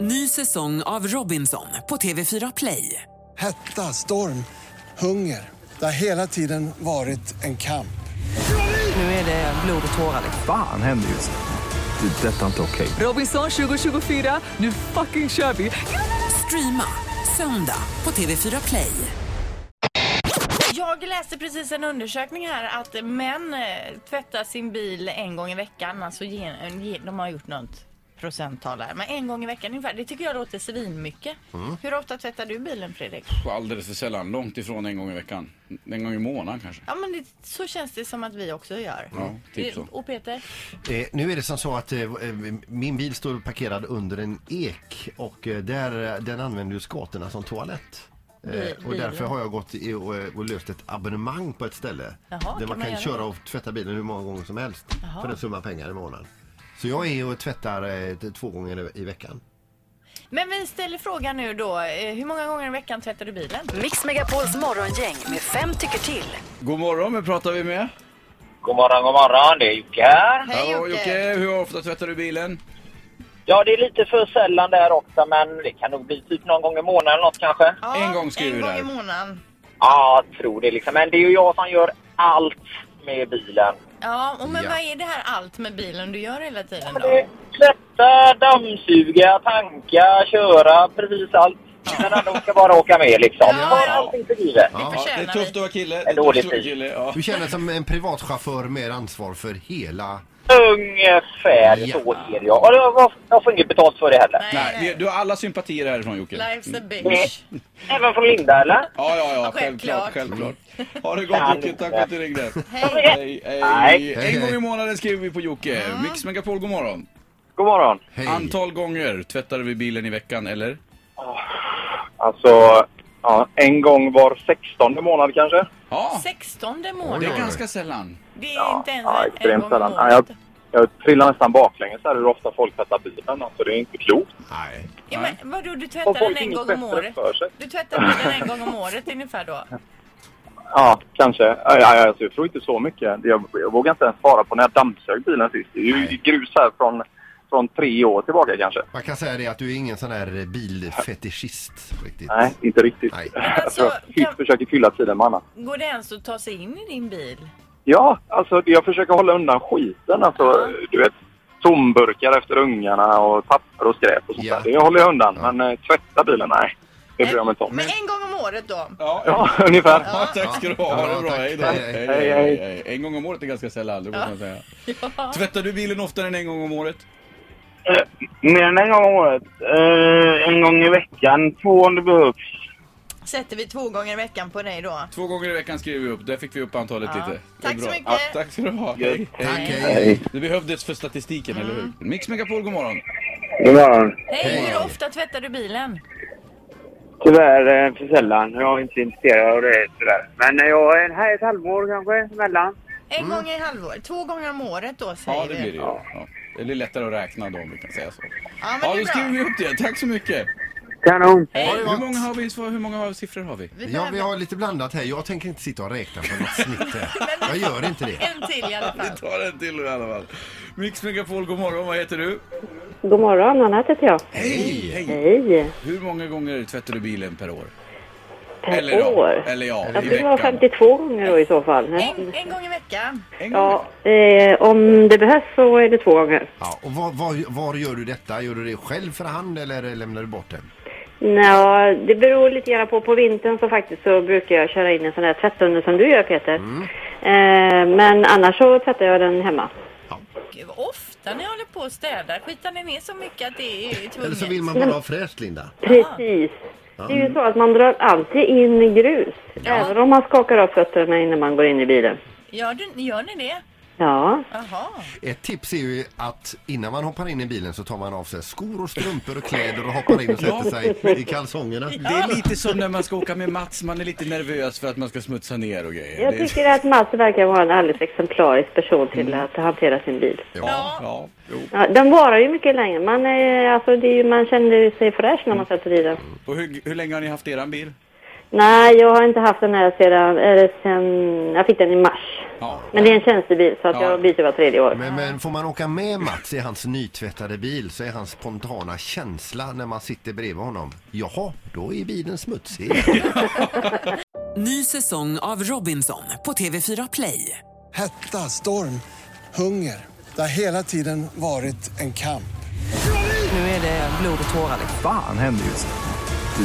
Ny säsong av Robinson på TV4 Play. Hetta, storm, hunger. Det har hela tiden varit en kamp. Nu är det blod och tårar. liksom. Fan händer just nu. Det. är Detta är inte okej. Robinson 2024, nu fucking kör vi! Streama söndag på TV4 Play. Jag läste precis en undersökning här att män eh, tvättar sin bil en gång i veckan. Alltså gen, gen, de har gjort något procenttal här. Men en gång i veckan ungefär. Det tycker jag låter svinmycket. Mm. Hur ofta tvättar du bilen Fredrik? Alldeles för sällan. Långt ifrån en gång i veckan. En gång i månaden kanske. Ja men det, så känns det som att vi också gör. Ja, typ så. Och Peter? Eh, nu är det som så att eh, min bil står parkerad under en ek och eh, där, eh, den använder ju skatorna som toalett. Bi- Eh, och bilen. därför har jag gått i och, eh, och löst ett abonnemang på ett ställe Jaha, där kan man man kan göra köra det? och tvätta bilen hur många gånger som helst Jaha. för en summa pengar i månaden. Så jag är och tvättar eh, t- två gånger i veckan. Men vi ställer frågan nu då. eh, Hur många gånger i veckan tvättar du bilen? Mix Megapols morgongäng med fem tycker till. God morgon, vem pratar vi med? God morgon, god morgon. Det är Jocke här. Hej Hallå, Jocke! Hur ofta tvättar du bilen? Ja, det är lite för sällan där också, men det kan nog bli typ någon gång i månaden eller något kanske. Ja, En gång skriver En du gång där. i månaden. Ja, jag tror det liksom. Men det är ju jag som gör allt med bilen. Ja, och men Ja. vad är det här allt med bilen du gör hela tiden då? Det är Tvätta, dammsuga, tanka, köra, precis allt. Men ändå ska bara åka med liksom. Ja. Ta allting för givet. Det Ja, det är förtjänar tufft att vi. vara kille. Det En är tufft dålig att vara tid. kille. Ja. Du känner som en privatchaufför med ansvar för hela... Ungefär så är det ja. Och jag- jag- jag får inget betalt för det heller. Nej, vi- du Mm. har alla sympatier härifrån Jocke. Ja, Life's a bitch. Även från Linda eller? ja, ja, självklart. Mm. självklart, självklart. Ha det gott Jocke, tack för att du ringde. Hej! Hej, Nej. hej. Hej, En gång hej. i månaden skriver vi på Jocke. Mix Megapol, god morgon. God morgon. Hej. Antal gånger tvättade vi bilen i veckan, eller? Alltså, ja, en gång var 16 månad kanske. Ja, 16 det månaden. är ganska sällan. Det är Ja, inte ens ja, en- en extremt gång om sällan. Ja, året. jag, jag trillar nästan baklänges här hur ofta folk tvättar bilen. Alltså, det är inte klokt. Nej. Ja, Nej. men vadå, du Och tvättar den folk en inget gång om bättre året? för sig. Du tvättar bilen en gång om året ungefär då? Ja, kanske. Ja, ja, alltså, jag tror inte så mycket. Jag, jag vågar inte ens svara på när jag dammsög bilen sist. Det är ju grus här från, från tre år tillbaka kanske. Man kan säga det att du är ingen sån här bilfetischist riktigt. Nej, inte riktigt. Nej. Alltså, jag kan- försöker fylla tiden med annat. Går det ens att ta sig in i din bil? Ja, alltså jag försöker hålla undan skiten. Alltså, Du vet, tomburkar efter ungarna och papper och skräp och sånt Ja. där. Det håller jag undan. Ja. Men eh, tvätta bilen, nej. Det bryr jag mig inte om. Men en gång om året då? Ja, Ja, ungefär. Ja, tack ska du ha. Ha det bra. Hej då. Hej, Hej, hej. hej, hej. En gång om året är ganska sällan, det måste man säga. Tvättar du bilen oftare än en gång om året? Eh, Mer än en gång om året. Eh, en gång i veckan. Två om det behövs. Sätter vi två gånger i veckan på dig då? Två gånger i veckan skriver vi upp. Där fick vi upp antalet Ja. lite. Det är Tack så bra. mycket. Ja, tack ska du ha. Hej. Tack, hej. Det behövdes för statistiken, eller hur? Mix Megapol, god morgon. God morgon. Hej, hur ofta tvättar du bilen? Tyvärr eh, för sällan. Jag är inte intresserad av det tyvärr. Men eh, jag är här ett halvår kanske emellan. En Mm. gång i halvår? Två gånger om året då säger Ja, det blir vi. det ju. Ja. Det blir lättare att räkna då, om vi kan säga så. Ja, men Ja, det då skriver är vi bra. upp det. Tack så mycket. Kanon! Hur många, har vi, hur många siffror har vi? Vi Ja, vi behöver har lite blandat här. Jag tänker inte sitta och räkna på något snitt här. Jag gör inte det. en till i alla fall. Ta en till i alla fall. Mix Megapol, god morgon. Vad heter du? God morgon, Anna heter jag. Hej! Hej! Hej. Hur många gånger tvättar du bilen per år? Per Eller ja, år. eller ja, Jag i tror det var veckan. 52 gånger då i så fall. En, en gång i veckan? En gång. Ja, eh, om det behövs så är det två gånger. Ja, och var, var, var gör du detta? Gör du det själv för hand eller lämnar du bort den? Nå, det beror lite grann på. På vintern så faktiskt så brukar jag köra in en sån här tvättunder som du gör Peter. Mm. Eh, men annars så tvättar jag den hemma. Gud, vad ofta ni håller på och städar. Skitar ni ner så mycket att det är Eller så vill tvunget? man bara ha fräscht, Linda. Precis. Ah. Det är ju så att man drar alltid in grus. Även om man skakar av fötterna innan man går in i bilen. Gör, du, gör ni det? Ja, Jaha. Ett tips är ju att innan man hoppar in i bilen så tar man av sig skor och strumpor och kläder och hoppar in och sätter sig i kalsongerna. Det är lite som när man ska åka med Mats, man är lite nervös för att man ska smutsa ner och grejer. jag Det är- Mm. tycker att Mats verkar vara en alldeles exemplarisk person till att hantera sin bil. Ja, ja, jo. Ja, den varar ju mycket längre. Man, är, alltså, det är ju, man känner sig fräsch när man sätter i den. Och hur, hur länge har ni haft eran bil? Nej, jag har inte haft den här sedan, eller sen, jag fick den i mars. Men det är en tjänstebil så att Ja. jag byter var tredje år. Men, men får man åka med Mats i hans nytvättade bil så är hans spontana känsla när man sitter bredvid honom. Jaha, då är bilen smutsig. Ny säsong av Robinson på TV4 Play. Hetta, storm, hunger. Det har hela tiden varit en kamp. Nu är det blod och tårar. liksom. Fan händer just nu.